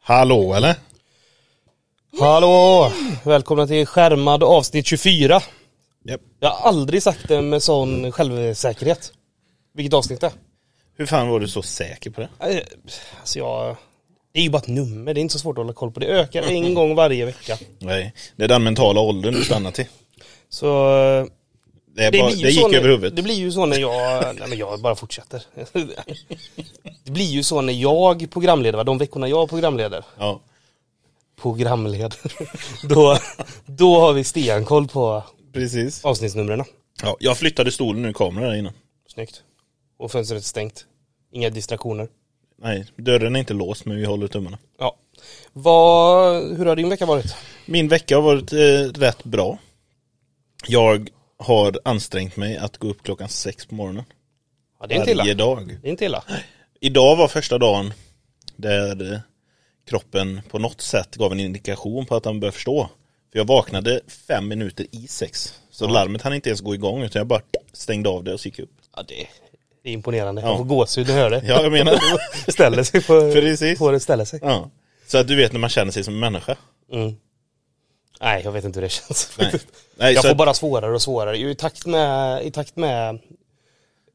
Hallå eller? Hallå! Välkomna till skärmad avsnitt 24. Japp. Jag har aldrig sagt det med sån självsäkerhet. Vilket avsnitt det är. Hur fan var du så säker på det? Eh, Alltså jag... Det är ju bara ett nummer, det är inte så svårt att hålla koll på. Det ökar en gång varje vecka. Nej, det är den mentala åldern du stannar till. Så... eh, Det, är bara, blir ju det gick så när, över huvudet. Det blir ju så när jag... Nej men jag bara fortsätter. Det blir ju så när jag programleder, va? de veckorna jag programleder. Ja. Programleder. Då, då har vi stenkoll på Precis. avsnittsnumren. Ja, jag flyttade stolen nu kameran där innan. Snyggt. Och fönstret är stängt. Inga distraktioner. Nej, dörren är inte låst men vi håller tummarna. Ja. Vad, hur har din vecka varit? Min vecka har varit eh, rätt bra. Jag har ansträngt mig att gå upp klockan sex på morgonen. Ja, det är inte illa. Varje dag. Det är inte illa. Idag var första dagen där eh, kroppen på något sätt gav en indikation på att han började förstå. För jag vaknade fem minuter i sex. Så larmet hann inte ens gå igång utan jag bara stängde av det och så gick jag upp. Ja, det det är imponerande. Ja. Jag får gåshud när jag hör det. Ja, jag menar. Ställer sig på... Precis. Får det ställa sig. ja. Så att du vet när man känner sig som en människa. Mm. Nej, jag vet inte hur det känns. Nej. Nej, så jag får att- bara svårare och svårare. I takt med, i takt med,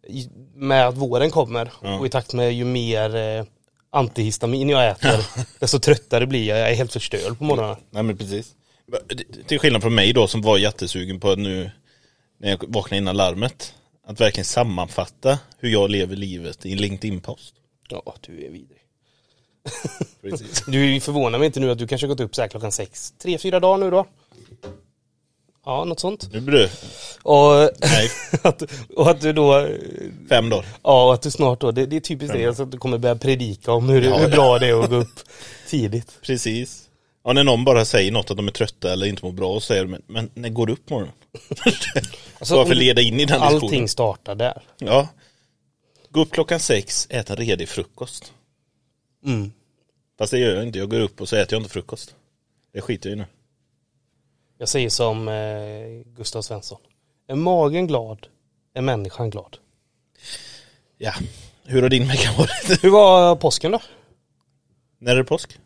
i- med att våren kommer Ja. och i takt med ju mer eh, antihistamin jag äter, desto tröttare blir jag. Jag är helt förstörd på morgonen. Nej men precis. Till skillnad från mig då som var jättesugen på att nu när jag vaknade innan larmet. Att verkligen sammanfatta hur jag lever livet i en LinkedIn-post. Ja, du är vidrig. Precis. Du förvånar mig inte nu att du kanske har gått upp så här klockan sex. Tre, fyra dagar nu då? Ja, något sånt. Nu blir det, Och nej, att, och att du då, fem dagar. ja och att du snart då, det, det är typiskt det, alltså att du kommer börja predika om hur, Ja, ja. hur bra det är att gå upp tidigt. Precis. Ja, när någon bara säger något att de är trötta eller inte mår bra och säger men, men när går du upp morgonen? Alltså, Varför om- leda in i den Allting diskussionen? startar där. Ja. Gå upp klockan sex, ät en redig frukost. Mm. Fast det gör jag inte, jag går upp och så äter jag inte frukost. Det skiter jag i nu. Jag säger som eh, Gustav Svensson. Är magen glad, är människan glad. Ja. Hur har din vecka varit? Hur var påsken då? när är det påsk?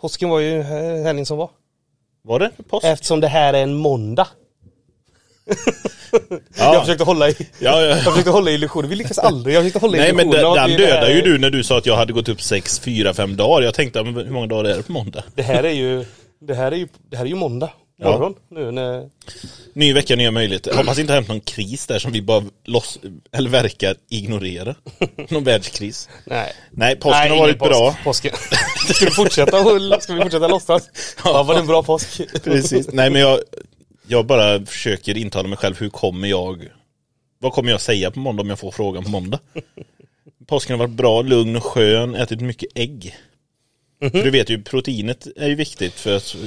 Påsken var ju eh, helgen som var. Var det påsk? Eftersom det här är en måndag. Jag ja. försökte hålla i ja, Jag ja. försökte hålla illusionen, vi lyckas aldrig. Jag försökte hålla Nej men den, illusionen. av att den vi- dödar det här- ju du när du sa att jag hade gått upp sex, fyra, fem dagar. Jag tänkte, men hur många dagar är det på måndag? Det här är ju, det här är ju, det här är ju måndag Ja. morgon nu när, Ny vecka, nya möjligheter. Hoppas inte hänt någon kris där som vi bara loss, eller verkar ignorera. Någon världskris. nej. Nej, påsken nej, har ingen varit påsk. bra. Påsken. Ska vi fortsätta, och- ska vi fortsätta låtsas? Ja, var det en bra påsk? Precis. Nej, men jag, jag bara försöker intala mig själv, hur kommer jag, vad kommer jag säga på måndag om jag får frågan på måndag? Påsken har varit bra, lugn och skön, ätit mycket ägg. Mhm. För du vet ju, proteinet är ju viktigt för att eh,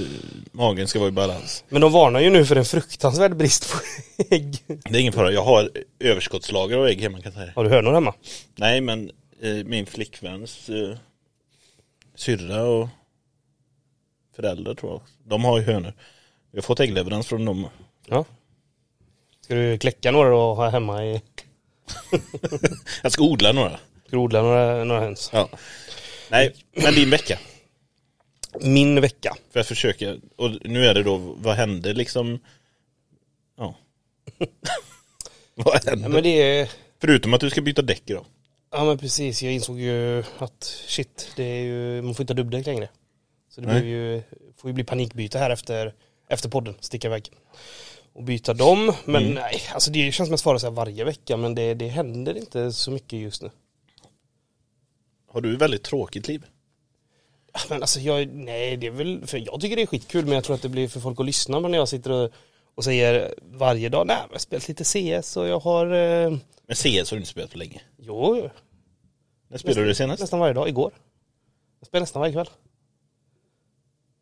magen ska vara i balans. Men de varnar ju nu för en fruktansvärd brist på ägg. Det är ingen fara, jag har överskottslager av ägg hemma kan jag säga. Har du hönor hemma? Nej men eh, min flickväns eh, syrra och föräldrar tror jag. De har ju hönor. Vi har fått äggleverans från dem. Ja. Ska du kläcka några och ha hemma i, Jag ska odla några. ska du odla några, några höns? Ja. Nej, men din vecka. Min vecka. För jag försöker, och nu är det då, vad hände liksom? Ja. vad hände? Ja, men det är, Förutom att du ska byta däck idag. Ja men precis, jag insåg ju att shit, det är ju, man får inte ha dubbdäck längre. Så det Nej. blir ju, får ju bli panikbyte här efter, efter podden, sticka iväg. Och byta dem, men Mm. nej, alltså det känns som att svara så här varje vecka men det, det händer inte så mycket just nu. Har du ett väldigt tråkigt liv? Ja, Men alltså jag, nej det är väl, för jag tycker det är skitkul men jag tror att det blir för folk att lyssna på när jag sitter och, och säger varje dag, nej men jag har spelat lite CS och jag har, eh, Men CS har du inte spelat på länge. jo, När spelade du senast? nästan varje dag, igår. Jag spelar nästan varje kväll.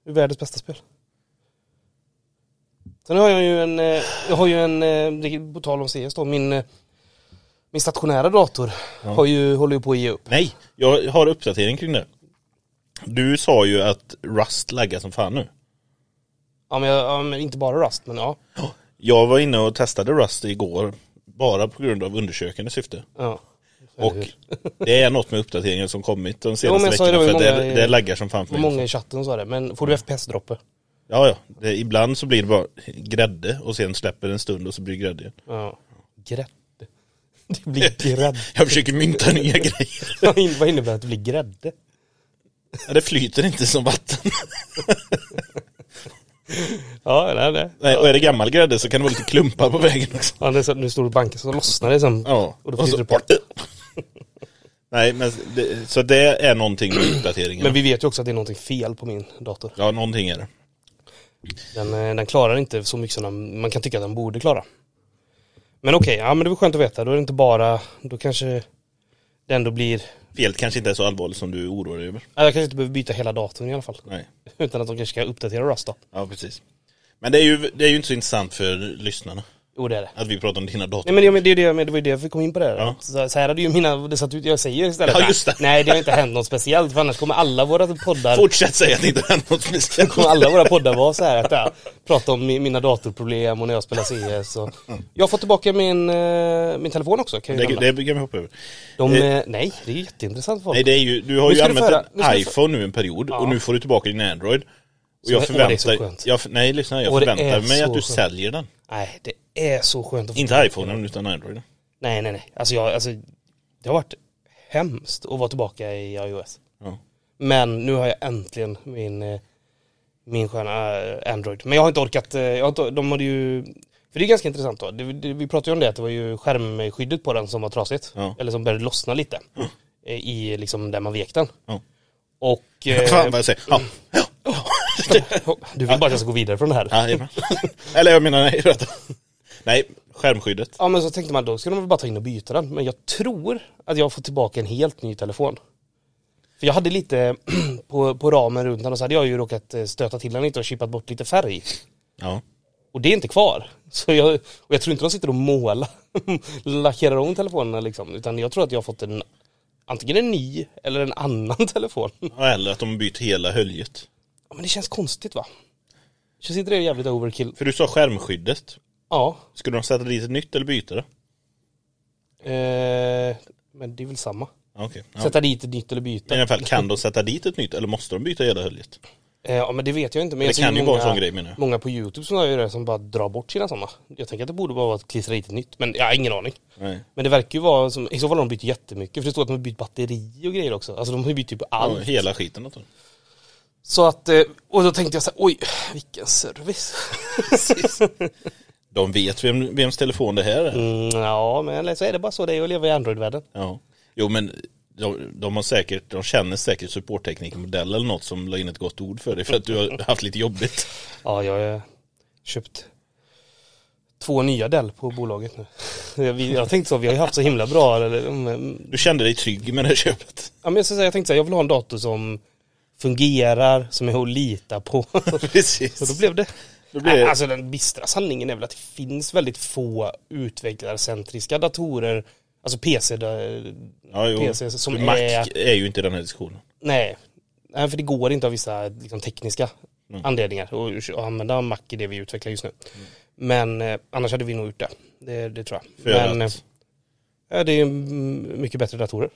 Det är världens bästa spel. Sen har jag ju en, eh, jag har ju en, eh, det- på tal om CS då, min, eh, min stationära dator har ju, håller ju på att ge upp. Nej, jag har uppdatering kring det. Du sa ju att Rust laggar som fan nu. Ja men, jag, ja men inte bara Rust men ja. Jag var inne och testade Rust igår, bara på grund av undersökande syfte. ja. eller Och hur? det är något med uppdateringen som kommit de Jo, men senaste jag sa ju veckorna. det, För många det, är- det laggar som fan för Det var mig. många i chatten sa det, men får du FPS-droppe? Ja, ja. Det, ibland så blir det bara grädde och sen släpper det en stund och så blir det grädde igen. Ja. Grädde. Det blir grädde. Jag försöker mynta nya grejer. Vad in- Vad innebär att det blir grädde? Ja, Det flyter inte som vatten. Ja, nej, nej. Nej, och är det gammal grädde så kan det vara lite klumpar på vägen också. Ja, det är så, att nu står du och bankar så lossnar det sen. Ja, Och och, då så flyter bort. Nej, men det, så det är någonting med uppdateringen. Men vi vet ju också att det är någonting fel på min dator. Ja, någonting är det. Den, eh, den klarar inte så mycket som den, man kan tycka att den borde klara. Men okej, ja men det var skönt att veta. Då är det inte bara, då kanske det ändå blir, Felet kanske inte är så allvarligt som du oroar dig över. ja, jag kanske inte behöver byta hela datorn i alla fall. Nej, Utan att de kanske ska uppdatera Rust då. ja precis. Men det är, ju, det är ju inte så intressant för lyssnarna Jo det är det. att vi pratar om dina Nej datorer. men det, men det, är ju det, men det var ju det vi kom in på där. Ja. Så, så här hade ju mina, det satt ut, jag säger istället. Ja, just det. Nej det har inte hänt något speciellt för annars kommer alla våra poddar Fortsätt säga att det inte hänt något speciellt. kommer alla våra poddar vara så här att ja, prata om mi- mina datorproblem och när jag spelar CS. Och... Jag har fått tillbaka min, eh, min telefon också. Kan jag ju nämna. Det, det kan vi hoppa över. De, eh, nej, det är ju jätteintressant folk. Nej, det är ju, du har Nu ju ska du använt föra- nu ska en du iPhone för- nu en period Ja. och nu får du tillbaka din Android. Och jag Så- åh, det är så förväntar, skönt. jag, nej lyssna, jag Åh, det är förväntar mig så att du skönt. säljer den. Nej, det är så skönt att få Inte iPhonen utan Androiden. Nej, nej, nej. Alltså, jag, alltså, det har varit hemskt att vara tillbaka i iOS. Ja. Men nu har jag äntligen min, eh, min sköna eh, Android. Men jag har inte orkat, eh, jag har inte, de hade ju, för det är ganska intressant då. Det, det, vi pratade ju om det, att det var ju skärmskyddet på den som var trasigt. Ja. Eller som började lossna lite. eh, I liksom där man vek den. Ja. Och... eh, Fan vad jag säger. Ja. du vill bara att jag ska gå vidare från det här. Ja, jajamän. Eller jag menar, nej, vänta. Nej, skärmskyddet. Ja men så tänkte man då ska de väl bara ta in och byta den. Men jag tror att jag får tillbaka en helt ny telefon. För jag hade lite på, på ramen runt den och så hade jag ju råkat eh, stöta till den lite och chippat bort lite färg. Ja. Och det är inte kvar. Så jag, och jag tror inte de sitter och målar, lackerar om telefonerna liksom. Utan jag tror att jag har fått en, antingen en ny eller en annan telefon. Eller att de har bytt hela höljet. Ja, men det känns konstigt va? Känns inte det jävligt overkill? För du sa skärmskyddet. Ja. Skulle de sätta dit ett nytt eller byta det? Eh, men det är väl samma. Ja, Okej. Ja. Sätta dit ett nytt eller byta. Men I alla fall, kan de sätta dit ett nytt eller måste de byta hela höljet? Eh, Ja men det vet jag inte. Men Det jag ser kan ju många, vara en sån grej, menar jag. Många på YouTube som gör det som bara drar bort sina sådana. Jag tänker att det borde bara vara att klistra dit ett nytt. Men jag har ingen aning. Nej. Men det verkar ju vara som, i så fall har de bytt jättemycket. För det står att de har bytt batteri och grejer också. Alltså de har ju bytt typ Ja, allt. hela skiten alltså. åt dem. Så att, eh, och då tänkte jag så här, oj vilken service. De vet vem, vems telefon det här är. mm, ja men eller så är det bara så det är att leva i Android-världen. Ja. Jo men de, de har säkert, de känner säkert supportteknikermodell eller något som la in ett gott ord för dig för att du har haft lite jobbigt. Ja jag har eh, köpt två nya Dell på bolaget nu. Jag, vi- jag tänkte så, vi har ju haft så himla bra, eller, mm, Du kände dig trygg med det här köpet. Ja, men jag, ska säga, jag tänkte så här, jag vill ha en dator som fungerar, som är att lita på. Så då Precis. blev det. Då blir det- Alltså den bistra sanningen är väl att det finns väldigt få utvecklarcentriska datorer, alltså PC, där- Ja, jo. PC som Mac är- är... ju inte i den här diskussionen. nej. nej, för det går inte av vissa liksom, tekniska Mm. anledningar och- att använda Mac i det vi utvecklar just nu. Men eh, annars hade vi nog gjort det, det, det tror jag. För men, att, eh, ja, det är ju mm, mycket bättre datorer.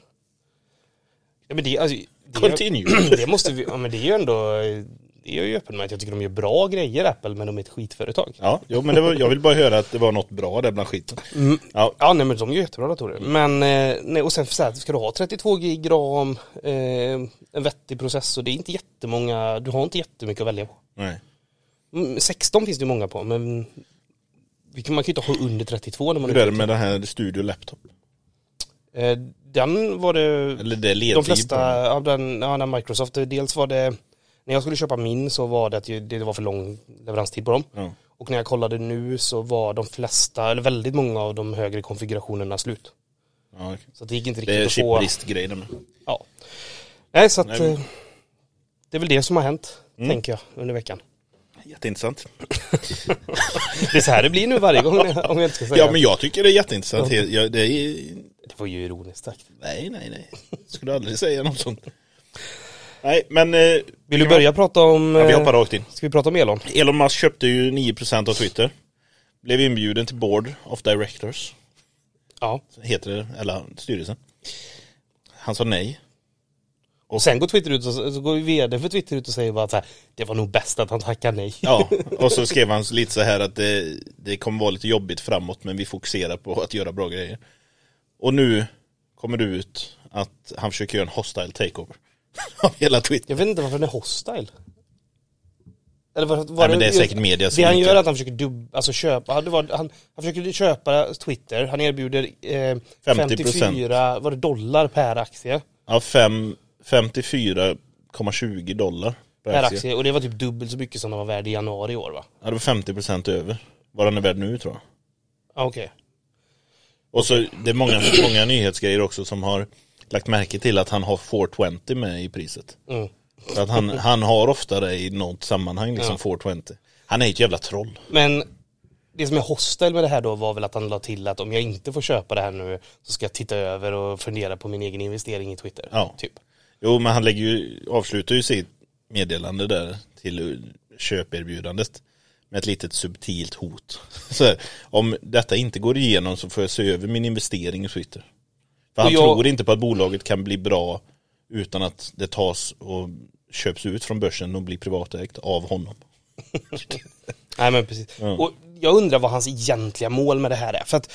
Ja, men det, alltså, det, continue. det måste vi, ja men det är ju ändå, det är jag ju öppen med att jag tycker de gör bra grejer Apple men de är ett skitföretag. Ja, jo, men det var, jag vill bara höra att det var något bra där bland skiten. Mm. Ja, Ja nej men de gör jättebra datorer. Mm. Men eh, nej och sen för så här, ska du ha 32 gig ram, eh, en vettig processor, det är inte jättemånga, du har inte jättemycket att välja på. nej. Mm, 16 finns det ju många på men vi kan- man kan ju inte ha under 32 när man Hur är det med den här Studio Laptop? Eh, Den var det Eller det ledtid Typ. De på den. flesta av den, ja, den Microsoft, dels var det, när jag skulle köpa min så var det att ju- det var för lång leveranstid på dem. Ja. Och när jag kollade nu så var de flesta, eller väldigt många av de högre konfigurationerna slut. Ja, okej. Så det gick inte Det är riktigt att få. chipbristgrejen med. Ja. Nej, så att Nej, men- Mm. eh, det är väl det som har hänt, tänker jag, under veckan. Jätteintressant. Det är så här det blir nu varje gång, om jag inte ska säga. Ja, men jag tycker det är jätteintressant. Jag, det är Det var ju ironiskt sagt. Nej, nej, nej. Skulle aldrig säga något sånt. Nej, men... eh, Vill du börja prata om... Ja, vi eh, hoppar rakt in. Ska vi prata om Elon? Elon Musk köpte ju 9% av Twitter. Blev inbjuden till Board of Directors. Ja. Heter det, eller styrelsen. Han sa nej. Och sen går Twitter ut och så, så går vd för Twitter ut och säger bara så här, det var nog bäst att han tackade nej. Ja, och så skrev han lite så här att det, det kommer vara lite jobbigt framåt men vi fokuserar på att göra bra grejer. Och nu kommer det ut att han försöker göra en hostile takeover av hela Twitter. Jag vet inte varför den är hostile. Eller var, var Nej, men det är säkert media som Det han inte- gör är att han försöker dubb, alltså köpa, han, det var, han, han försöker köpa Twitter, han erbjuder eh, 54 var det dollar per aktie. Ja, fem- 54,20 dollar per Per aktie. aktie och det var typ dubbelt så mycket som den var värd i januari i år va? Ja, det var 50% över vad den är värd nu tror jag. Ja, Okej. Och så det är många, många nyhetsgrejer också som har lagt märke till att han har 420 med i priset. Mm. Så att han, han har ofta det i något sammanhang, liksom 420. Han är ju ett jävla troll. Men det som är hostile med det här då var väl att han la till att om jag inte får köpa det här nu så ska jag titta över och fundera på min egen investering i Twitter. Ja. Typ. Jo, men han lägger ju, avslutar ju sitt meddelande där till köperbjudandet med ett litet subtilt hot. Så här, om detta inte går igenom så får jag se över min investering i Twitter. För han Och jag- tror inte på att bolaget kan bli bra utan att det tas och köps ut från börsen och blir privatägt av honom. Nej men precis. Och jag undrar vad hans egentliga mål med det här är. För att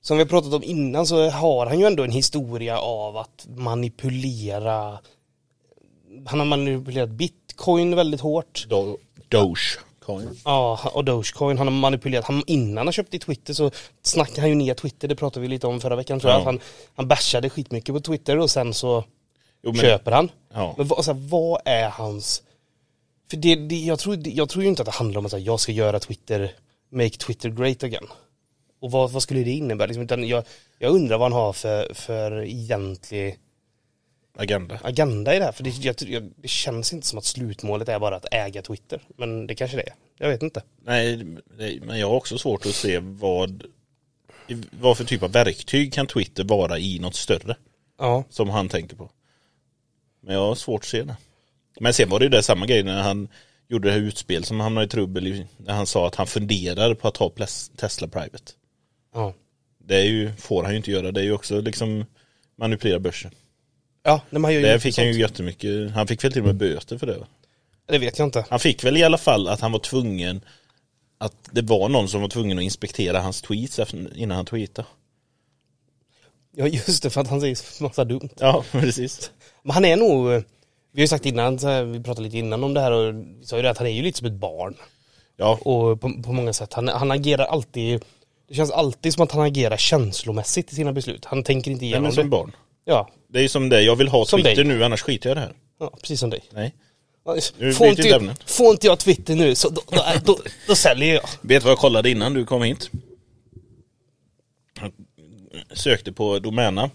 som vi har pratat om innan så har han ju ändå en historia av att manipulera. Han har manipulerat bitcoin väldigt hårt. Do- Dogecoin. Ja, och Dogecoin. Han har manipulerat. Han, innan han köpte Twitter så snackade han ju ner Twitter. Det pratade vi lite om förra veckan tror jag. Ja. Att han, han bashade skitmycket på Twitter och sen så Jo, men- köper han. Ja. Men vad, så här, vad är hans... För det, det, jag, tror, det, jag tror ju inte att det handlar om att så här, jag ska göra Twitter, make Twitter great again. Och vad, vad skulle det innebära? Liksom, utan jag, jag undrar vad han har för, för egentlig Agenda. agenda i det här. För det, jag, jag, det känns inte som att slutmålet är bara att äga Twitter. Men det kanske det är. Jag vet inte. Nej, det- men jag har också svårt att se vad, vad för typ av verktyg kan Twitter vara i något större Ja. som han tänker på. Men jag har svårt att se det. Men sen var det ju där samma grej när han gjorde det här utspel som hamnade i trubbel i, när han sa att han funderar på att ta ples- Tesla Private. Ja, Det är ju, får han ju inte göra, det är ju också liksom manipulera börsen. ja nej, man gör ju Där fick han sånt. ju jättemycket, han fick väl till och med böter för det. va? Det vet jag inte. Han fick väl i alla fall att han var tvungen att det var någon som var tvungen att inspektera hans tweets efter- innan han tweetade. Ja, just det, för att han säger massa dumt. Ja, precis. Men han är nog, eh, vi har ju sagt innan, så här, vi pratade lite innan om det här och vi sa ju det att han är ju lite som ett barn. Ja, Och på, på många sätt, han, han agerar alltid, det känns alltid som att han agerar känslomässigt i sina beslut. Han tänker inte nej, igenom men som det. barn. Ja, Det är ju som det, jag vill ha Som Twitter dig. nu annars skiter jag i det här. ja, precis som dig. Nej. Nu Får byter vi inte, ämne. får inte jag Twitter nu så då, då, då, då säljer jag. Vet du vad jag kollade innan du kom hit? Jag sökte på domännamn.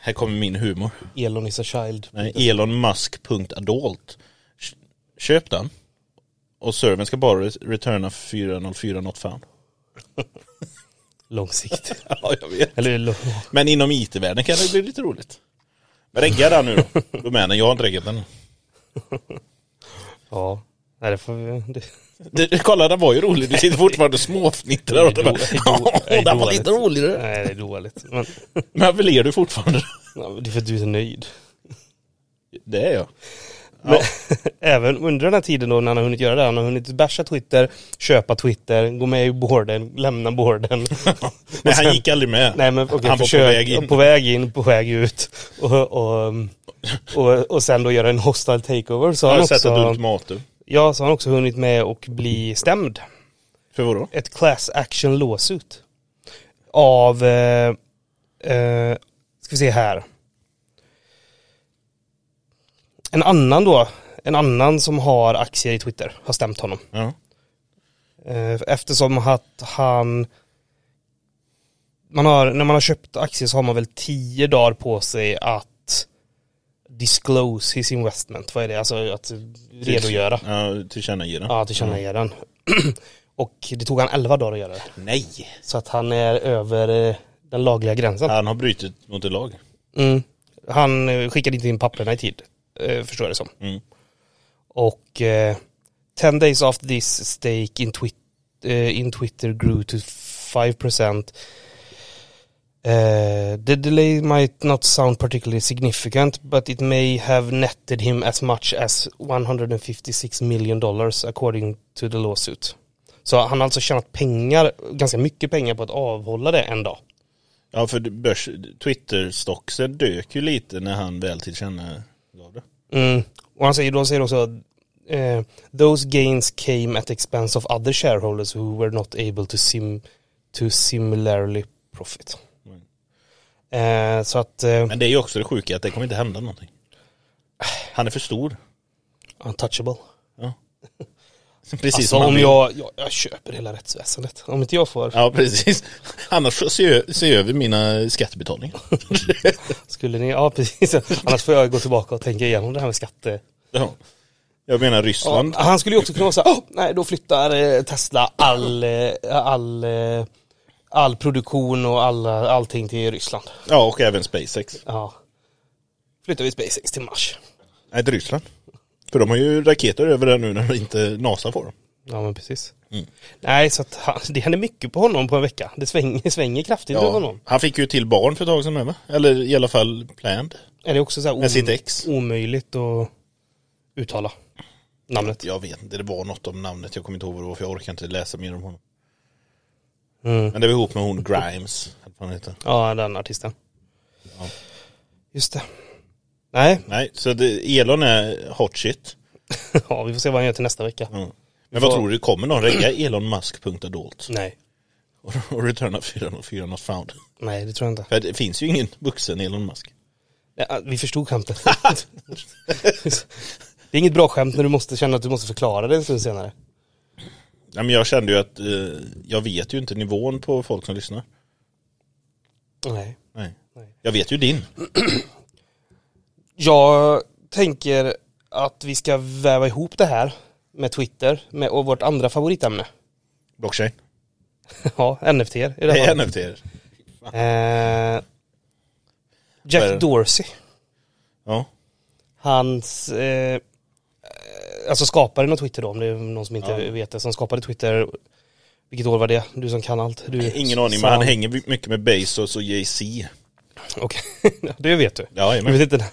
Här kommer min humor. Elon is a child. Mhm. Nej, elonmusk.adult. Kö- Köp den. Och servern ska bara re- returna 404 not found. Långsiktigt. Ja, jag vet. Eller lång- Men inom IT-världen kan det bli lite roligt. Regga den nu då. Domänen, jag har inte reggat den. ja. Nej, det får vi... Det. Du, kolla, den var ju rolig. Du sitter fortfarande och småfnittrar åt den. Det är do- Åh, det är Den var dåligt. lite rolig du. Nej, det är dåligt. Men, Men varför ler du fortfarande? det är för att du är så nöjd. Det är jag. Men även under den här tiden då när han har hunnit göra det, han har hunnit basha Twitter, köpa Twitter, gå med i boarden, lämna boarden. Nej, han gick aldrig med. Nej men okej, han var på försök- väg in. På väg in, på väg ut. Och, och, och, och sen då göra en hostile takeover. Så har Han han har sett ett också, ultimatum. ja, så har han också hunnit med och bli stämd. För vadå? Ett class action lawsuit. Av, eh, eh, ska vi se här. En annan då, en annan som har aktier i Twitter har stämt honom. Ja. Eh, Eftersom att han... Man har, när man har köpt aktier så har man väl tio dagar på sig att disclose his investment. Vad är det? Alltså att redogöra. Ja, tillkännage den. Ja, tillkännage den. Och det tog han elva dagar att göra det. Nej. Så att han är över eh, den lagliga gränsen. Han har brutit mot ett lag. Mm. Han eh, skickade inte in papperna i tid, eh, förstår jag det som. Mm. Och eh, 10 days after this stake in, twit- eh, in Twitter grew to 5% Eh, the delay might not sound particularly significant, but it may have netted him as much as 156 million dollars according to the lawsuit. Så han har alltså tjänat pengar, ganska mycket pengar på att avhålla det en dag. Ja, för börs, Twitter-stocksen dök ju lite när han väl tillkännagav det. Mm. Och han säger då säger också att eh, those gains came at the expense of other shareholders who were not able to sim to similarly profit. Eh, så att eh, Mm. Men det är ju också det sjuka att det kommer inte hända någonting. Han är för stor. untouchable. Precis Alltså som han om vill. jag, jag, jag köper hela rättsväsendet. Om inte jag får, Ja, precis. Annars så ser ser jag över mina skattebetalningar. skulle ni, ja precis. Annars får jag gå tillbaka och tänka igenom det här med skatte. Ja. Jag menar Ja, Ryssland. han skulle ju också kunna vara så här, "Åh, nej då flyttar eh, Tesla all, eh, all, eh, all produktion och all, allting till Ryssland. Ja, och även SpaceX. Ja. Flyttar vi SpaceX till Mars. Nej, till Ryssland. För de har ju raketer över där nu när inte NASA får dem. Ja men precis. Mm. Nej så att han, det händer mycket på honom på en vecka. Det svänger, svänger kraftigt över honom. Han fick ju till barn för ett tag sedan med, va? Eller i alla fall planned. Är det också så här Med sitt ex. omöjligt att uttala namnet? Jag vet inte, det var något om namnet. Jag kommer inte ihåg vad det var för jag orkar inte läsa mer om honom. Mm. Men det var ihop med hon Grimes. Vad fan heter. Ja den artisten. Ja. Just det. Nej, Nej, så det, Elon är hot shit. ja, vi får se vad han gör till nästa vecka. Mm. Men vad får- tror du, kommer någon regga elonmusk.adult Nej, och, och returna 404 not found? nej det tror jag inte. För det finns ju ingen vuxen Elon Musk. Nej, ah, vi förstod skämtet. det är inget bra skämt när du måste känna att du måste förklara det en stund senare. Nej, men jag kände ju att eh, jag vet ju inte nivån på folk som lyssnar. Nej. Nej. Nej. Jag vet ju din. Jag tänker att vi ska väva ihop det här med Twitter med, och vårt andra favoritämne. Blockchain. ja, NFT i det Hej här fallet. NFT. eh, Vad är det? Jack Dorsey, Ja. hans, eh, alltså skaparen av Twitter då, om det är någon som inte Ja. vet det, som skapade Twitter, vilket år var det? Du som kan allt. Du, Ingen aning, men han hänger mycket med Bezos och Jay-Z. Okej, det vet du. Ja, Du jajamän. vet inte när,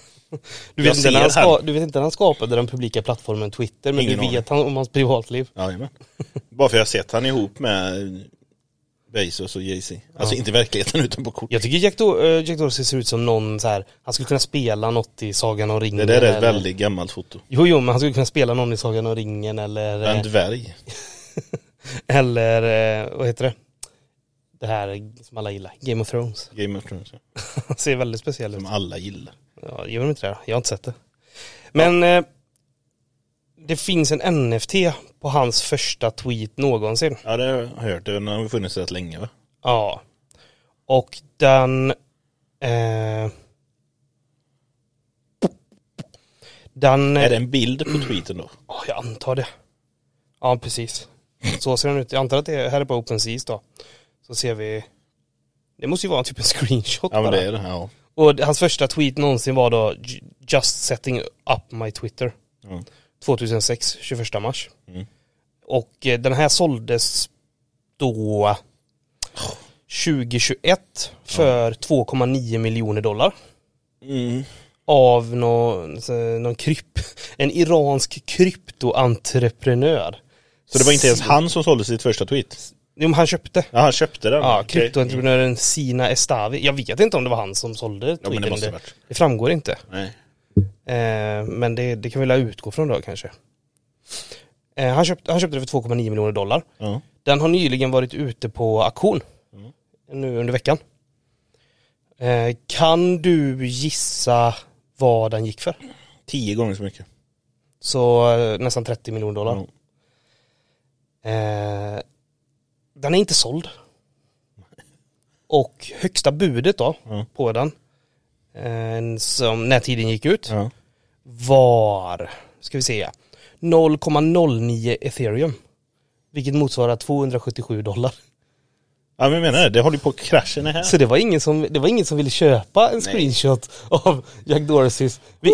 du vet inte ser när han, ska, här. du vet inte när han skapade den publika plattformen Twitter, men Ingen du vet han, om hans privatliv. Ja, jajamän. Bara för jag har sett han ihop med Bezos och Jay-Z. Alltså inte i verkligheten utan på kort. Jag tycker Jack, Do- eh, Jack Dorsey ser ut som någon så här, han skulle kunna spela något i Sagan om Det ringen. där är ett eller- väldigt gammalt foto. Jo, jo, men han skulle kunna spela någon i Sagan om ringen eller, En eh, dvärg. eller eh, vad heter det? Det här som alla gillar, Game of Thrones. Game of Thrones. ja. Han ser väldigt speciell ut. Som alla gillar. Ja, gör de inte det? Jag har inte sett det. Men eh, det finns en NFT på hans första tweet någonsin. Ja, det har jag hört. Den har ju funnits rätt länge va? Ja. Och den... Eh, den... Är det en bild på tweeten då? Ja, jag antar det. Ja, precis. Så ser den ut. Jag antar att det är, här är på OpenSeas då. Så ser vi... Det måste ju vara typ en screenshot Ja, men det bara. är det. Ja. Och det- hans första tweet någonsin var då "J- Just setting up my Twitter. Ja. 2006, 21 mars. Mm. Och eh, den här såldes då 2021 för 2,9 miljoner dollar. Mm. Av någon, så- någon kryp, en iransk kryptoentreprenör. Så det var inte ens han som sålde sitt första tweet? Jo, men han köpte. Ja, han köpte den. Ja, Okej. kryptoentreprenören Sina Estavi. Jag vet inte om det var han som sålde Ja, men tweeten. det måste ha det, varit. det framgår inte. Nej. Eh, men det, det kan vi la utgå från då kanske. Eh, han, köpt, han köpte det för 2,9 miljoner dollar. Ja. Den har nyligen varit ute på auktion. Mm. Nu under veckan. Eh, kan du gissa vad den gick för? Tio gånger så mycket. Så eh, nästan 30 miljoner dollar. Ja. Eh, den är inte såld. Och högsta budet då Ja. på den, eh, som när tiden gick ut, Ja. var, ska vi se, 0,09 ethereum. Vilket motsvarar 277 dollar. ja, men jag menar det. Det håller ju på att krascha det här. Så det var ingen som, det var ingen som ville köpa en screenshot av Jack Dorseys. Vi,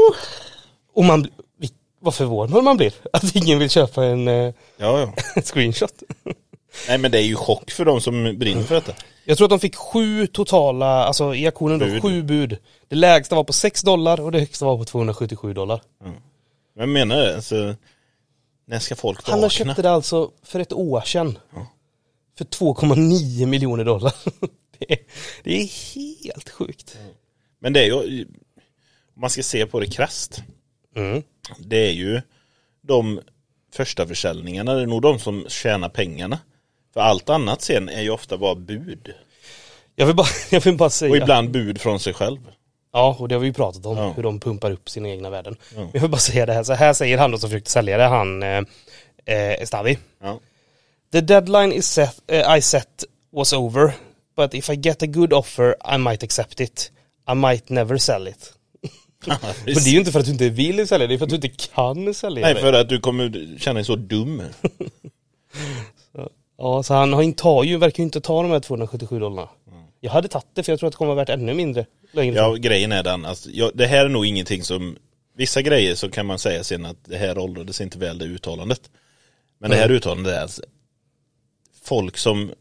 och man, bl- vi, vad förvånad man blir att ingen vill köpa en eh, Ja, ja. screenshot. Nej, men det är ju chock för de som brinner för detta. Jag tror att de fick sju totala, alltså i auktionen då, Bud. sju bud. Det lägsta var på 6 dollar och det högsta var på 277 dollar. Men jag menar det, alltså, när ska folk Han vakna? köpte det alltså för ett år sedan. För 2,9 miljoner dollar. det, är, det är helt sjukt. Men det är ju, om man ska se på det krasst, Mm. det är ju de första försäljningarna, det är nog de som tjänar pengarna. För allt annat sen är ju ofta bara bud. Jag vill bara, jag vill bara säga. Och ibland bud från sig själv. Ja, och det har vi ju pratat om, Ja. hur de pumpar upp sina egna värden. Ja. Men jag vill bara säga det här, så här säger han då som försökte sälja det, han eh, eh, Stavi. Ja. The deadline is set, eh, I set was over, but if I get a good offer I might accept it. I might never sell it. Men det är ju inte för att du inte vill sälja, det är för att du inte kan sälja Nej, det. för att du kommer känna dig så dum. Ja, så han har inte tar ju, verkar ju inte ta de här 277 dollarna. Jag hade tagit det för jag tror att det kommer vara värt ännu mindre längre Ja, grejen är den, alltså, jag, det här är nog ingenting som, vissa grejer så kan man säga sen att det här åldrades inte väl det uttalandet. Men det här uttalandet är alltså, folk som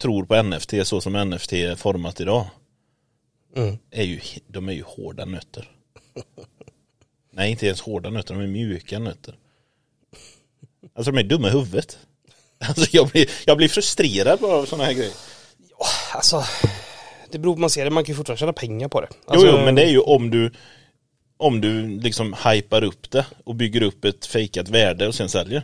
tror på NFT så som NFT är format idag, Mm. är ju, de är ju hårda nötter. Nej, inte ens hårda nötter, de är mjuka nötter. Alltså de är dumma i huvudet. Alltså jag blir, jag blir frustrerad bara av sådana här grejer. Alltså, det beror på hur man ser det, man kan ju fortfarande tjäna pengar på det. Jo, Alltså, jo, men det är ju om du om du liksom hypar upp det och bygger upp ett fejkat värde och sen säljer.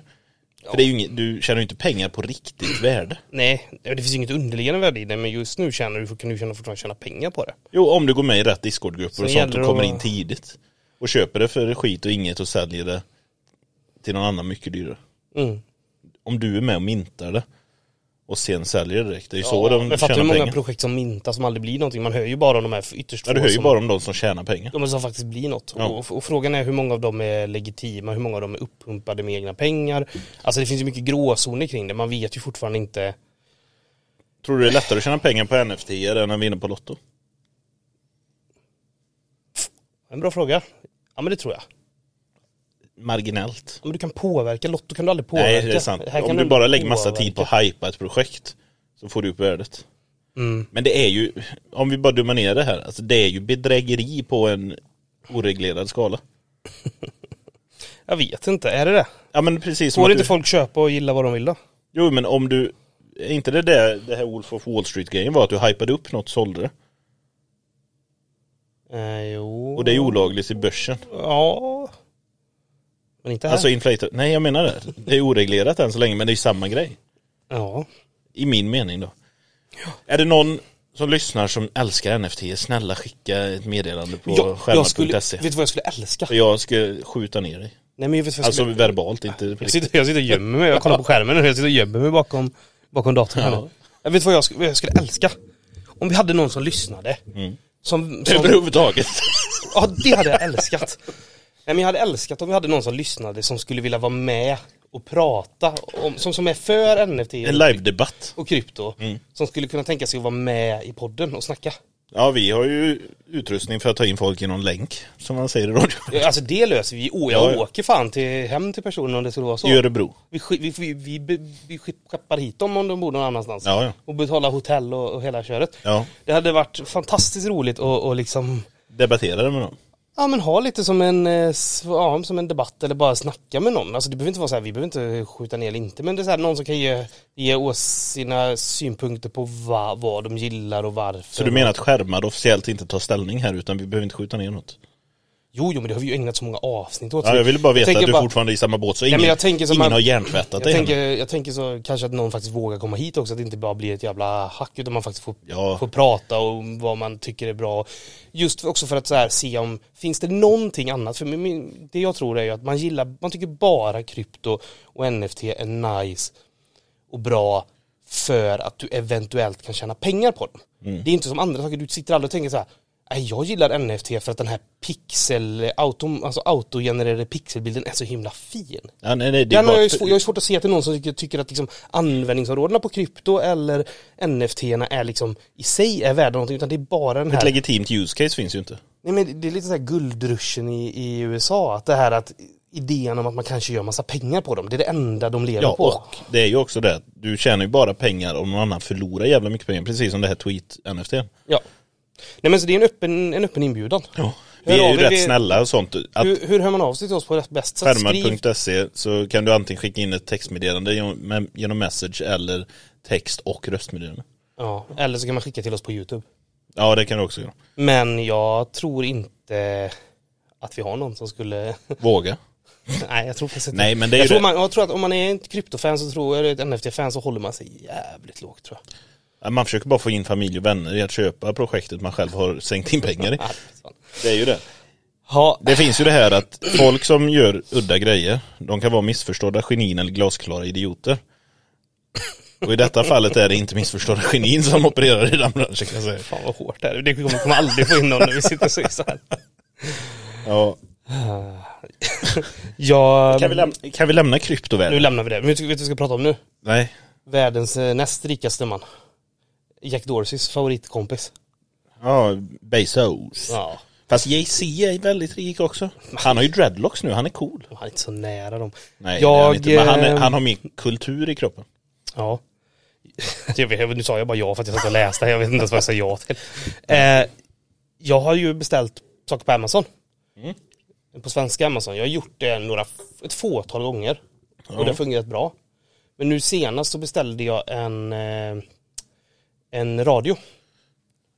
För det är ju inget, du tjänar ju inte pengar på riktigt värde. Nej, det finns ju inget underliggande värde i det, men just nu tjänar du, kan du tjäna, fortfarande tjäna pengar på det. Jo, om du går med i rätt Discord-grupper och sånt gäller och det kommer att- in tidigt. Och köper det för skit och inget och säljer det till någon annan mycket dyrare. Mm. Om du är med och mintar det och sen säljer det direkt. Det är ju så Ja, de men fattar du tjänar hur många pengar. projekt som mintas som aldrig blir någonting? Man hör ju bara om de här ytterst Ja, få du hör ju som, bara om de som tjänar pengar. de som faktiskt blir något. Ja. Och, och frågan är hur många av dem är legitima, hur många av dem är uppumpade med egna pengar. Alltså det finns ju mycket gråzoner kring det, man vet ju fortfarande inte. Tror du det är lättare att tjäna pengar på NFT än att vinna på Lotto? En bra fråga. Ja men det tror jag. Marginellt. Om du kan påverka, Lotto kan du aldrig påverka. Nej, det är sant. Här kan Om du bara lägger massa påverka. tid på att hypa ett projekt så får du upp värdet. Mm. Men det är ju, om vi bara dummar ner det här, alltså det är ju bedrägeri på en oreglerad skala. Jag vet inte, är det det? Ja men precis som Får att inte du, folk köpa och gilla vad de vill då? Jo men om du, är inte det där, det här Wolf of Wall Street-grejen var att du hypade upp något, sålde det. Eh, jo. Och det är ju olagligt i börsen. Ja. Men inte här. Alltså inflator, nej jag menar det. Det är oreglerat än så länge men det är ju samma grej. ja. I min mening då. Är det någon som lyssnar som älskar NFT, snälla skicka ett meddelande på Jag, jag skulle, vet skärmar.se. du vad jag skulle älska? För Jag ska skjuta ner dig. Nej men jag vet vad jag Alltså skulle... verbalt, inte på jag, riktigt. sitter, jag sitter och gömmer mig, jag kollar på skärmen nu, jag sitter och gömmer mig bakom, bakom datorn här Ja. nu. Jag vet vad jag, skulle- vad jag skulle älska? Om vi hade någon som lyssnade. Mm. Som, som, Överhuvudtaget. ja det hade jag älskat. Nej men jag hade älskat om vi hade någon som lyssnade som skulle vilja vara med och prata om, som, som är för NFT En live-debatt. och krypto. Mm. Som skulle kunna tänka sig att vara med i podden och snacka. Ja, vi har ju utrustning för att ta in folk genom länk, som man säger i radio. Ja, Alltså det löser vi. Oh, jag Ja, ja. åker fan till, hem till personen om det skulle vara så. I Örebro. Vi, sk- vi, vi, vi, be- vi sk- skeppar hit dem om de bor någon annanstans. Ja, ja. Och betalar hotell och, och hela köret. Ja, Det hade varit fantastiskt roligt att och liksom debatterade med dem. Ja men ha lite som en, eh, sv- ja, som en debatt eller bara snacka med någon. Alltså det behöver inte vara så här, vi behöver inte skjuta ner eller inte. Men det är så här, någon som kan ge, ge oss sina synpunkter på va, vad de gillar och varför. Så du menar att skärmar officiellt inte tar ställning här, utan vi behöver inte skjuta ner något? Jo jo men det har vi ju ägnat så många avsnitt åt. Ja, jag ville bara veta tänker att du bara- fortfarande är i samma båt, så men ingen, jag tänker som ingen att- har hjärntvättat dig Jag tänker, ännu. jag tänker så kanske att någon faktiskt vågar komma hit också, att det inte bara blir ett jävla hack utan man faktiskt får, Ja. får prata och vad man tycker är bra. Just för, också för att så här, se om, finns det någonting annat? För min- min, det jag tror är ju att man gillar, man tycker bara krypto och NFT är nice och bra för att du eventuellt kan tjäna pengar på dem. Det är inte som andra saker, du sitter aldrig och tänker så här "Nej, jag gillar NFT för att den här pixel, autom, alltså autogenererade pixelbilden är så himla fin. Ja, nej, nej, det är Den har bara... jag, ju svår, jag har ju svårt att se att det är någon som tycker, tycker att liksom användningsområdena på krypto eller NFT-erna är liksom i sig är värda någonting utan det är bara den Ett här... legitimt use case finns ju inte. Nej men det är lite så här guldruschen i, i USA att det här att idén om att man kanske gör massa pengar på dem. Det är det enda de lever Ja, på. och det är ju också det att du tjänar ju bara pengar om någon annan förlorar jävla mycket pengar. Precis som det här tweet-NFT. Ja. Nej men så det är en öppen, en öppen inbjudan. Ja. Hör Vi är av ju er, rätt vi- snälla och sånt. Att Hur, hur hör man av sig till oss på rätt bäst sätt? Skriv, skärmar.se så kan du antingen skicka in ett textmeddelande genom- med- genom message eller text och röstmeddelande. ja, eller så kan man skicka till oss på YouTube. Ja det kan du också göra. Men jag tror inte att vi har någon som skulle... Våga. Nej jag tror faktiskt inte Nej men det är jag, ju tror det. man, jag tror att om man är ett kryptofan så tror jag, eller ett NFT-fan så håller man sig jävligt lågt tror jag. Ja, Man försöker bara få in familj och vänner i att köpa projektet man själv har sänkt in pengar i. Ja, det är sant. Det är ju det. Ja, Det finns ju det här att folk som gör udda grejer, de kan vara missförstådda genin eller glasklara idioter. Och i detta fallet är det inte missförstådda genin som opererar i den branschen kan jag säga. fan vad hårt det här är. Det kommer, kommer aldrig få in någon när vi sitter så så här. Ja. Ja, Kan, vi lämna, kan vi lämna nu kryptovärlden? lämnar vi det. Men vet du vet du vad vi ska prata om nu? Nej. Världens eh, näst rikaste man. Jack Dorseys favoritkompis. Ja, Bezos. Ja. Fast Jay-Z är väldigt rik också. Han har ju dreadlocks nu, han är cool. Han är inte så nära dem. Nej, Jag, det är han, inte. Men han, är, eh, han har mer kultur i kroppen. Ja. Jag vet, nu sa jag bara ja för att jag satt och läste. här. Jag vet inte ens vad jag sa ja till. Eh, jag har ju beställt saker på Amazon. Mm. På svenska Amazon. Jag har gjort det några, ett fåtal gånger. Och det har fungerat bra. Men nu senast så beställde jag en, eh, en radio.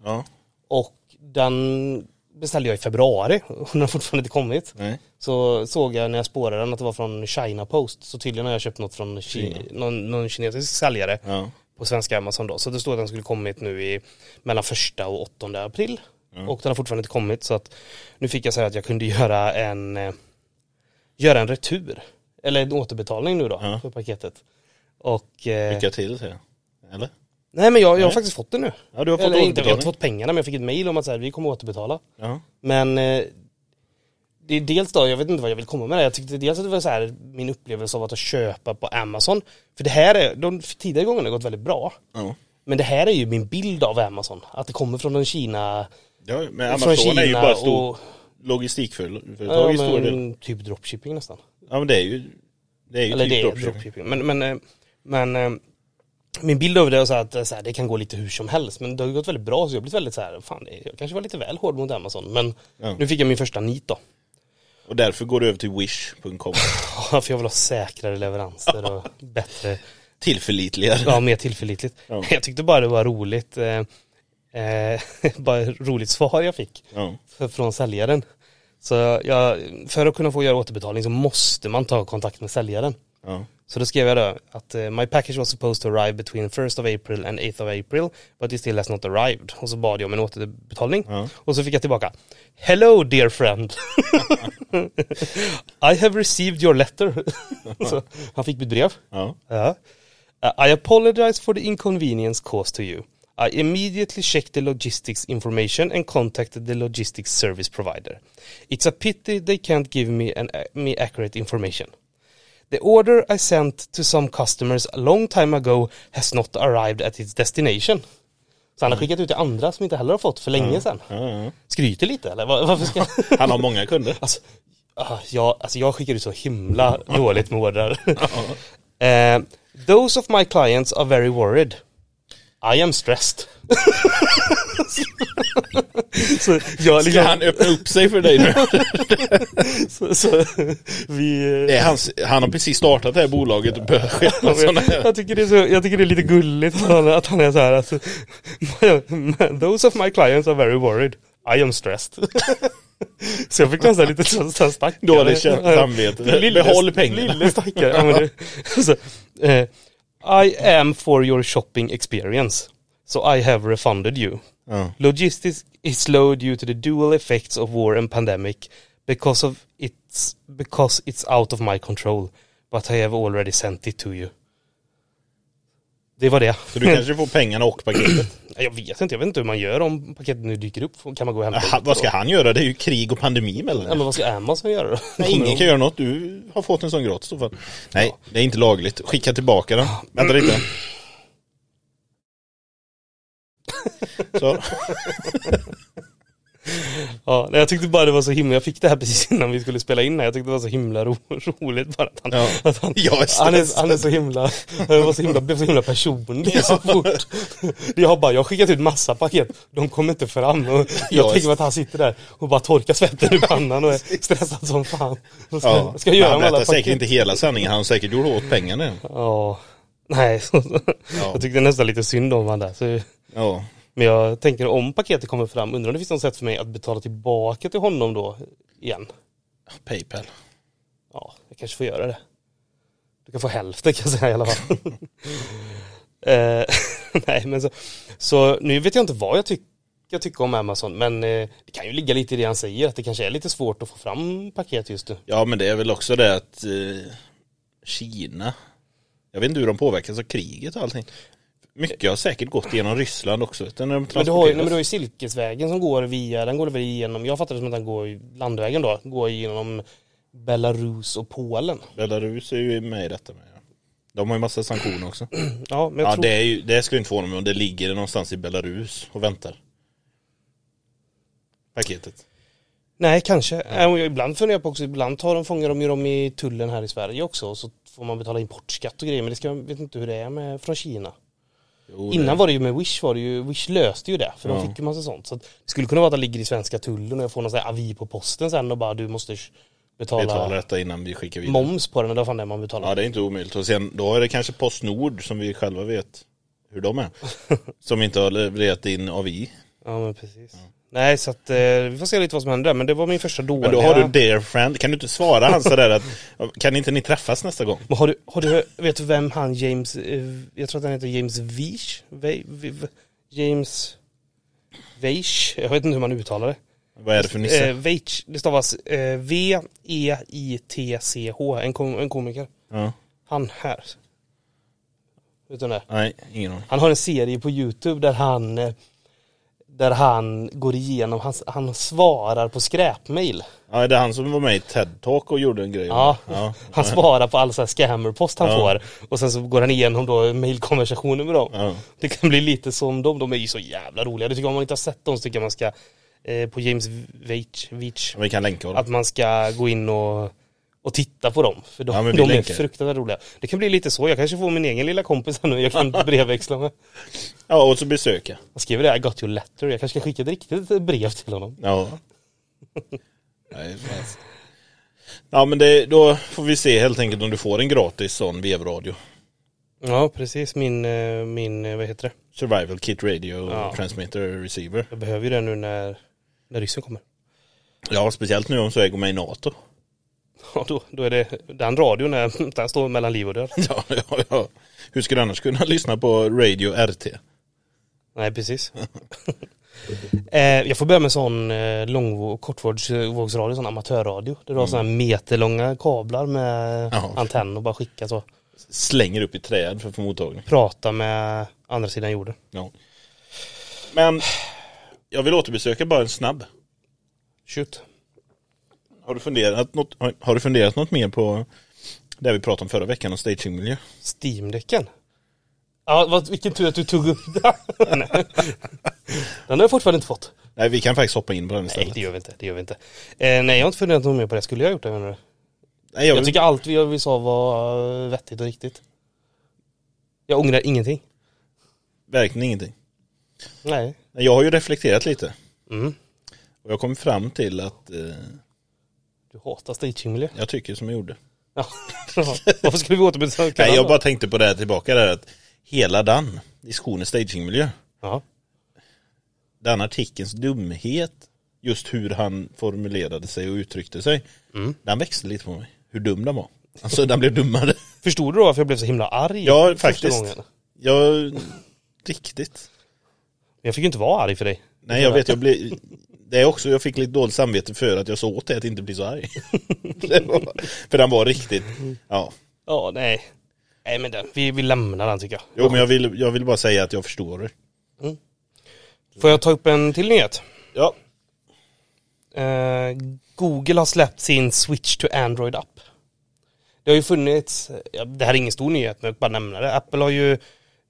Ja. Och den beställde jag i februari. Och den har fortfarande inte kommit. Nej. Så såg jag när jag spårade den att det var från China Post. Så tydligen har jag köpt något från Kina. Någon, någon kinesisk säljare Ja. på svenska Amazon då. Så det står att den skulle kommit nu i mellan första och åttonde april. Mm. Och den har fortfarande inte kommit så att nu fick jag säga att jag kunde göra en eh, göra en retur. Eller en återbetalning nu då Ja. för paketet. Och eh, Lycka till säger jag. Eller? nej men jag, jag har faktiskt fått det nu. Ja, du har fått Eller inte, jag har återbetalning. inte fått pengarna men jag fick ett mail om att så här, vi kommer återbetala. Ja. Men eh, det är dels då, jag vet inte vad jag vill komma med det. Jag tyckte dels att det var så här min upplevelse av att köpa på Amazon. För det här är, de tidigare gångerna har gått väldigt bra. Ja. Men det här är ju min bild av Amazon. Att det kommer från en Kina... Ja, men från Amazon Kina är ju bara stor och... logistikföretag Ja, i stor del. men, typ dropshipping nästan. Ja men det är ju, det är ju Eller typ det är dropshipping. dropshipping. Men, men, eh, men eh, min bild av det är så här att eh, så här, det kan gå lite hur som helst. Men det har ju gått väldigt bra så jag har blivit väldigt så här, fan det- jag kanske var lite väl hård mot Amazon. Men Ja. nu fick jag min första nit då. Och därför går du över till wish.com. Ja, För jag vill ha säkrare leveranser och bättre, Tillförlitligare. ja mer tillförlitligt. Ja. Jag tyckte bara det var roligt, eh, eh, bara ett roligt svar jag fick. Ja. för- från säljaren. Så jag, för att kunna få göra återbetalning så måste man ta kontakt med säljaren. Ja. Så då skrev jag då att eh, my package was supposed to arrive between 1st of April and 8th of April but it still has not arrived. Och så bad jag om en återbetalning. Ja. Och så fick jag tillbaka Hello dear friend. I have received your letter. så han fick mitt brev. ja. Ja. Uh, I apologize for the inconvenience caused to you. I immediately checked the logistics information and contacted the logistics service provider. It's a pity they can't give me an uh, me accurate information. The order I sent to some customers a long time ago has not arrived at its destination. Så han har skickat ut till andra som inte heller har fått för länge sedan. Ja, ja. Skryter lite eller? Var- Varför ska Han har många kunder. Alltså, ah, jag, alltså jag skickar ut så himla dåligt med ordrar. Eh, those of my clients are very worried. I am stressed. så, Ska jag, liksom, han öppna upp sig för dig nu? så, så, vi, eh, Det är hans, han har precis startat det här bolaget och börjat skicka sådana här. jag, tycker det är så, jag tycker det är lite gulligt att han, att han är så här. Alltså, those of my clients are very worried. I am stressed. så jag fick nästan lite så, så här stackare. Dåligt känsla- samvete. Behåll pengarna. Lille stackare. Ja, men det, alltså, eh, I am for your shopping experience. So I have refunded you. Ja. Logistics is slow due to the dual effects of war and pandemic because of it's because it's out of my control. But I have already sent it to you. Det var det. Så du kanske får pengarna och paketet. Jag vet inte, jag vet inte hur man gör om paketet nu dyker upp. Kan man gå och hämta Aha, ut Äh, vad då? ska han göra? Det är ju krig och pandemi Ja, mellan men vad ska Amazon göra då? Nej, ingen kan göra något. Du har fått en sån gratis i så fall. Nej, det är inte lagligt. Skicka tillbaka den. Vänta lite. Så. Ja, nej, jag tyckte bara det var så himla, jag fick det här precis innan vi skulle spela in här. Jag tyckte det var så himla ro, roligt bara att han, Ja. att han, Jag är han, är, stressad. han är så himla, han var så himla, blev så himla personlig så fort. Jag bara, jag har skickat ut massa paket, de kommer inte fram. Och jag Jag är- tänker mig att han sitter där och bara torkar svetten ur pannan och är stressad som fan. Vad ska, Ja. vad ska jag göra han med alla berättar paket? säkert inte hela sanningen, han säkert gjorde åt pengarna. Ja, nej. Jag tyckte nästan lite synd om han där. Så Ja. men jag tänker om paketet kommer fram, undrar om det finns något sätt för mig att betala tillbaka till honom då igen? Paypal. Ja, jag kanske får göra det. Du kan få hälften kan jag säga i alla fall. Eh, nej, men så, så nu vet jag inte vad jag, tyck, jag tycker om Amazon, men eh, det kan ju ligga lite i det han säger, att det kanske är lite svårt att få fram paket just nu. Ja men det är väl också det att eh, Kina, jag vet inte hur de påverkas av kriget och allting. Mycket har säkert gått genom Ryssland också. vet du, När de Men du, har ju, nej, transporteras. men du har ju Silkesvägen som går via, den går väl igenom, jag fattar det som att den går i- landvägen då, går genom Belarus och Polen. Belarus är ju med i detta med. ja. De har ju massa sanktioner också. Ja, men jag Ja, tror... det, är ju, det skulle inte förvåna mig om det ligger någonstans i Belarus och väntar. Paketet. Nej, kanske. Äh, och Ibland funderar jag på också, ibland tar de, fångar de ju dem i tullen här i Sverige också och så får man betala importskatt och grejer men det ska, jag vet inte hur det är med, från Kina. Jo, Innan det, var det ju med Wish, var det ju, Wish löste ju det för Ja. de fick ju massa sånt. Så att, det skulle kunna vara att det ligger i svenska tullen och jag får någon sån här avi på posten sen och bara du måste sh- betala, betalar detta innan vi skickar vidare. moms på den eller vad fan det är man betalar. Ja det är inte omöjligt. Och sen då är det kanske Postnord som vi själva vet hur de är. som inte har levererat in AVI. Ja, men precis. Nej så att eh, vi får se lite vad som händer där, men det var min första dåliga. Men då har du Dear Friend. Kan du inte svara han sådär att kan inte ni träffas nästa gång? Men har du, har du, vet du vem han James, eh, jag tror att han heter James Vish? Ve- vi- v- James Veish, jag vet inte hur man uttalar det. Vad är det för nisse? Eh, Veitch, det stavas eh, E V-E-I-T-C-H, en, kom, en komiker. Ja. Han här. Utan det. Nej, ingen aning. Han har en serie på Youtube där han eh, där han går igenom, han, han svarar på skräpmail. Ja, det är han som var med i TED Talk och gjorde en grej. Ja, ja. han svarar på all så här scammerpost han Ja. får och sen så går han igenom då mailkonversationer med dem. Ja. Det kan bli lite som dem, de är ju så jävla roliga. Det tycker jag, om man inte har sett dem så tycker jag man ska, eh, på James Veitch, Veitch Vi kan länka honom. att man ska gå in och, och titta på dem. För de, Ja, men vi de är länkar. fruktansvärt roliga. Det kan bli lite så, jag kanske får min egen lilla kompis här nu jag kan brevväxla med. Ja, och så besöka. Han skriver det, här, I got your letter, jag kanske ska skicka ett riktigt brev till honom. Ja. Nej, fan. ja, men det, då får vi se helt enkelt om du får en gratis sån vevradio. Ja, precis, min, eh, min eh, vad heter det? Survival Kit Radio Ja. Transmitter Receiver. Jag behöver ju det nu när, när ryssen kommer. Ja, speciellt nu om Sverige går med i NATO. Ja, då, då är det den radion, är, den står mellan liv och död. Ja, ja, ja. Hur ska du annars kunna lyssna på Radio RT? Nej, precis. eh, jag får börja med sån eh, långvåg och kortvågsradio, sån amatörradio. Där du har såna här meterlånga kablar med Ja. antenn och bara skicka så. Slänger upp i träd för att få mottagning. Prata med andra sidan jorden. Ja. Men jag vill återbesöka bara en snabb. Shoot. Har du funderat något, har- har du funderat något mer på det vi pratade om förra veckan om stagingmiljö? Steam-däcken. Ja, vad, vilken tur att du tog upp den. Nej. den har jag fortfarande inte fått. Nej, vi kan faktiskt hoppa in på den istället. Nej, det gör vi inte. Det gör vi inte. Eh, nej, jag har inte funderat något mer på det. Skulle jag ha gjort det? menar du? Nej, jag, Jag tycker allt vi, vi sa var eh, vettigt och riktigt. Jag ångrar ingenting. verkligen ingenting. Nej. Nej, Jag har ju reflekterat lite Mm. och jag kom fram till att eh, Du hatar stagingmiljö. jag tycker som jag gjorde. Ja. Varför skulle vi återbesöka Nej, den jag då? bara tänkte på det här tillbaka där att hela den diskussionen stagingmiljö, Ja. den artikelns dumhet, just hur han formulerade sig och uttryckte sig, Mm. den växte lite på mig. Hur dum den var. Alltså den blev dummare. Förstod du då varför jag blev så himla arg? Ja, första faktiskt. gången? Ja, riktigt. Jag fick ju inte vara arg för dig. Nej, jag vet, jag blev... Det är också, jag fick lite dåligt samvete för att jag sa åt dig att inte bli så arg. Det var- för den var riktigt, ja. Ja, nej. Nej, men den, vi, vi lämnar den tycker jag. Jo, men jag vill, jag vill bara säga att jag förstår det. Får jag ta upp en till nyhet? Ja. Eh, Google har släppt sin Switch to Android-app. Det har ju funnits, ja, det här är ingen stor nyhet, men jag vill bara nämna det. Apple har ju,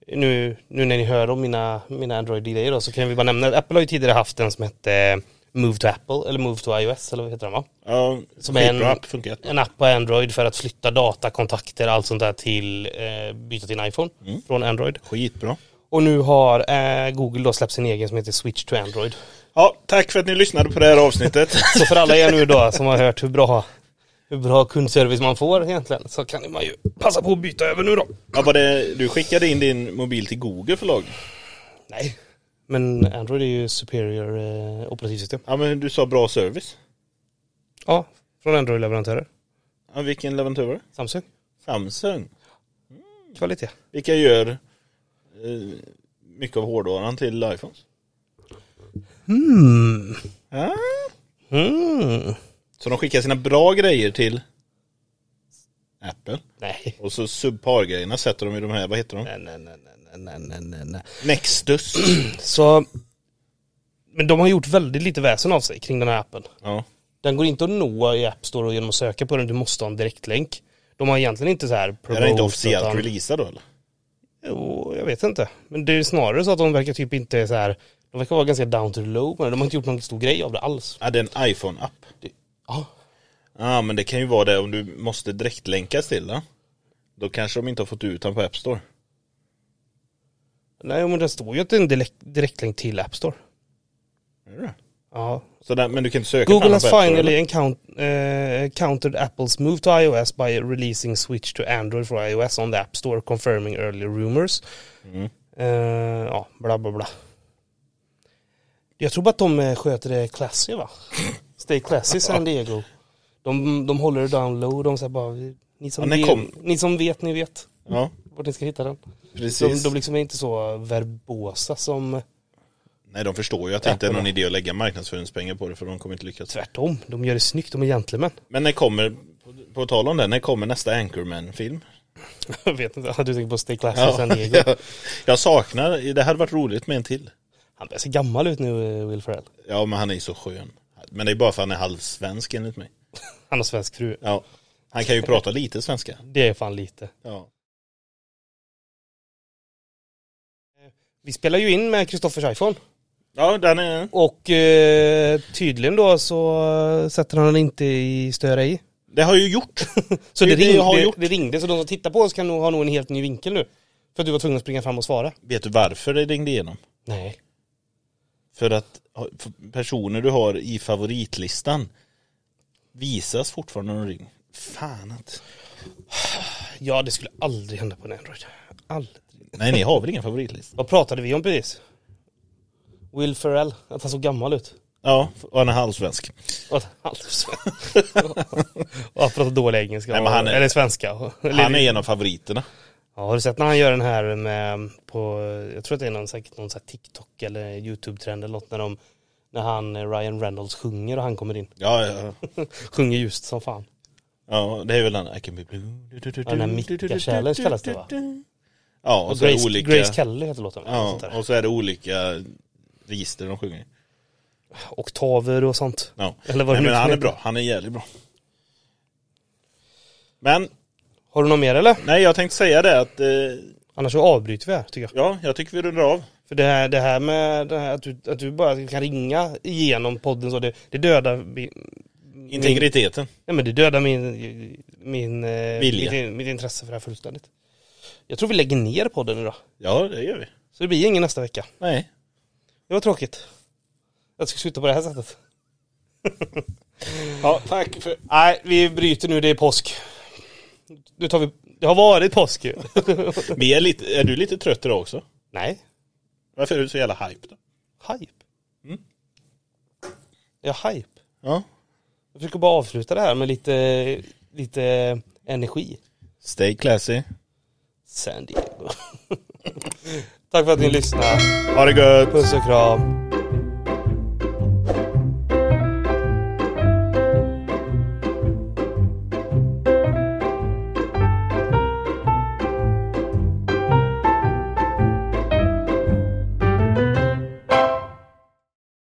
nu, nu när ni hör om mina, mina Android-grejer då, så kan vi bara nämna det. Apple har ju tidigare haft en som hette eh, Move to Apple, eller Move to iOS, eller vad heter den va? Ja, Som är en- skitbra app, funkar jättebra. En app på Android för att flytta data, kontakter, allt sånt där till, eh, byta till en iPhone Mm. från Android. Skitbra. Och nu har eh, Google då släppt sin egen som heter Switch to Android. Ja, tack för att ni lyssnade på det här avsnittet. Så för alla er nu då som har hört hur bra, hur bra kundservice man får egentligen så kan man ju passa på att byta över nu då. ja, var det, du skickade in din mobil till Google förlag. Nej. Men Android är ju superior eh, operativsystem. Ja, men du sa bra service. Ja, från Android-leverantörer. Ja, vilken leverantör var det? Samsung. Samsung. Kvalitet. Vilka gör eh, mycket av hårdvaran till iPhones? Mm. Ja. Mm. Så de skickar sina bra grejer till Apple. Nej. Och så subpar-grejerna sätter de i de här, vad heter de? Nej, nej, nej, nej, nej, nej, nej, nej. Nextus. Så... Men de har gjort väldigt lite väsen av sig kring den här appen. ja. Den går inte att nå i App Store och genom att söka på den. Du måste ha en direktlänk. De har egentligen inte så här... Är den inte promote, officiellt utan- releasad då eller? Jo, jag vet inte. Men det är snarare så att de verkar typ inte så här... De verkar vara ganska down to the low med det. De har inte gjort någon stor grej av det alls. Ja, det är en iPhone-app. Ja, Ja, men det kan ju vara det om du måste direktlänkas till den. Då kanske de inte har fått ut den på App Store. Nej, men den står ju att det är en direkt, direktlänk till App Store. Är det det? Ja. Så där, men du kan inte söka på Google den has på App Store, finally eller? encount, eh, countered Apples move to iOS by releasing switch to Android for iOS on the App Store, confirming earlier rumors. Mm. Eh, ja, bla bla bla. Jag tror bara att de eh, sköter det classy va? Stay classy San Diego. De, de håller det down low, de säger bara, vi- ni Ja, som, när kom- vet, ni som vet, ni vet Ja, vart ni ska hitta den. De, precis. de liksom är inte så verbosa som Nej, de förstår ju att det inte är Apple. någon idé att lägga marknadsföringspengar på det för de kommer inte lyckas. Tvärtom, de gör det snyggt, de är gentlemän. Men när kommer, på, på tal om det, när kommer nästa Anchorman-film? Jag vet inte, du tänker på Stay Classy i San Diego. Ja, jag saknar, det hade varit roligt med en till. Han börjar se gammal ut nu, eh, Will Ferrell. Ja, men han är ju så skön. Men det är bara för att han är halvsvensk enligt mig. Han har svensk fru. Ja. Han kan ju prata lite svenska. Det är fan lite. Ja. Vi spelar ju in med Kristoffers iPhone. Ja, den är... Och eh, tydligen då så eh, sätter han den inte i störa i. Det har jag ju gjort. Så Det det, är det jag har ringde, gjort. det, ringde, så de som tittar på oss kan nog ha nog en helt ny vinkel nu. För att du var tvungen att springa fram och svara. Vet du varför det ringde igenom? Nej. För att ha- för personer du har i favoritlistan visas fortfarande när de ringer. Fan att... Ja, det skulle aldrig hända på en Android. Aldrig. Nej, ni har väl ingen favoritlista? Vad pratade vi om precis? Will Ferrell, att han såg gammal ut. Ja, och han är halvsvensk. Och att han svensk. Och att prata dålig engelska. Nej, men han är- Eller svenska. Eller- Han är en av favoriterna. Ja, har du sett när han gör den här med på, jag tror att det är någon, säkert någon så här TikTok eller YouTube-trend eller något när de, när han, eh, Ryan Reynolds sjunger och han kommer in. Ja, ja. Sjunger ljust som fan. ja det är väl den I can be blue. den här Micka-challenge kallas det, va? Ja, Och och så är det Grace, olika... Grace Kelly heter låten. Ja, sånt Ja, där. och så är det olika register de sjunger i. Oktaver och sånt. Ja. Eller vad det Nej, nu men han är heter. bra, han är jävligt bra. Men, Har du något mer eller? nej jag tänkte säga det att, eh, Annars så avbryter vi här tycker jag. ja, jag tycker vi rundar av. För det här, det här med det här, att, du, att du bara kan ringa igenom podden så, det, det dödar min, min, Integriteten. nej, men det dödar min, min, eh, Vilja. mitt, mitt intresse för det här fullständigt. Jag tror vi lägger ner podden idag. Ja, det gör vi. Så det blir ingen nästa vecka. Nej. Det var tråkigt. Jag ska sluta på det här sättet. Ja, tack för... Nej, vi bryter nu. Det är påsk. Nu tar vi... Det har varit påsk ju. Vi är, lite, är du lite trött idag också? Nej. Varför är du så jävla hype då? Hype. Mm. Jag är hype. Ja. Jag försöker bara avsluta det här med lite, lite energi. Stay classy. San Diego. Tack för att ni lyssnade. Ha det gött! Puss och kram.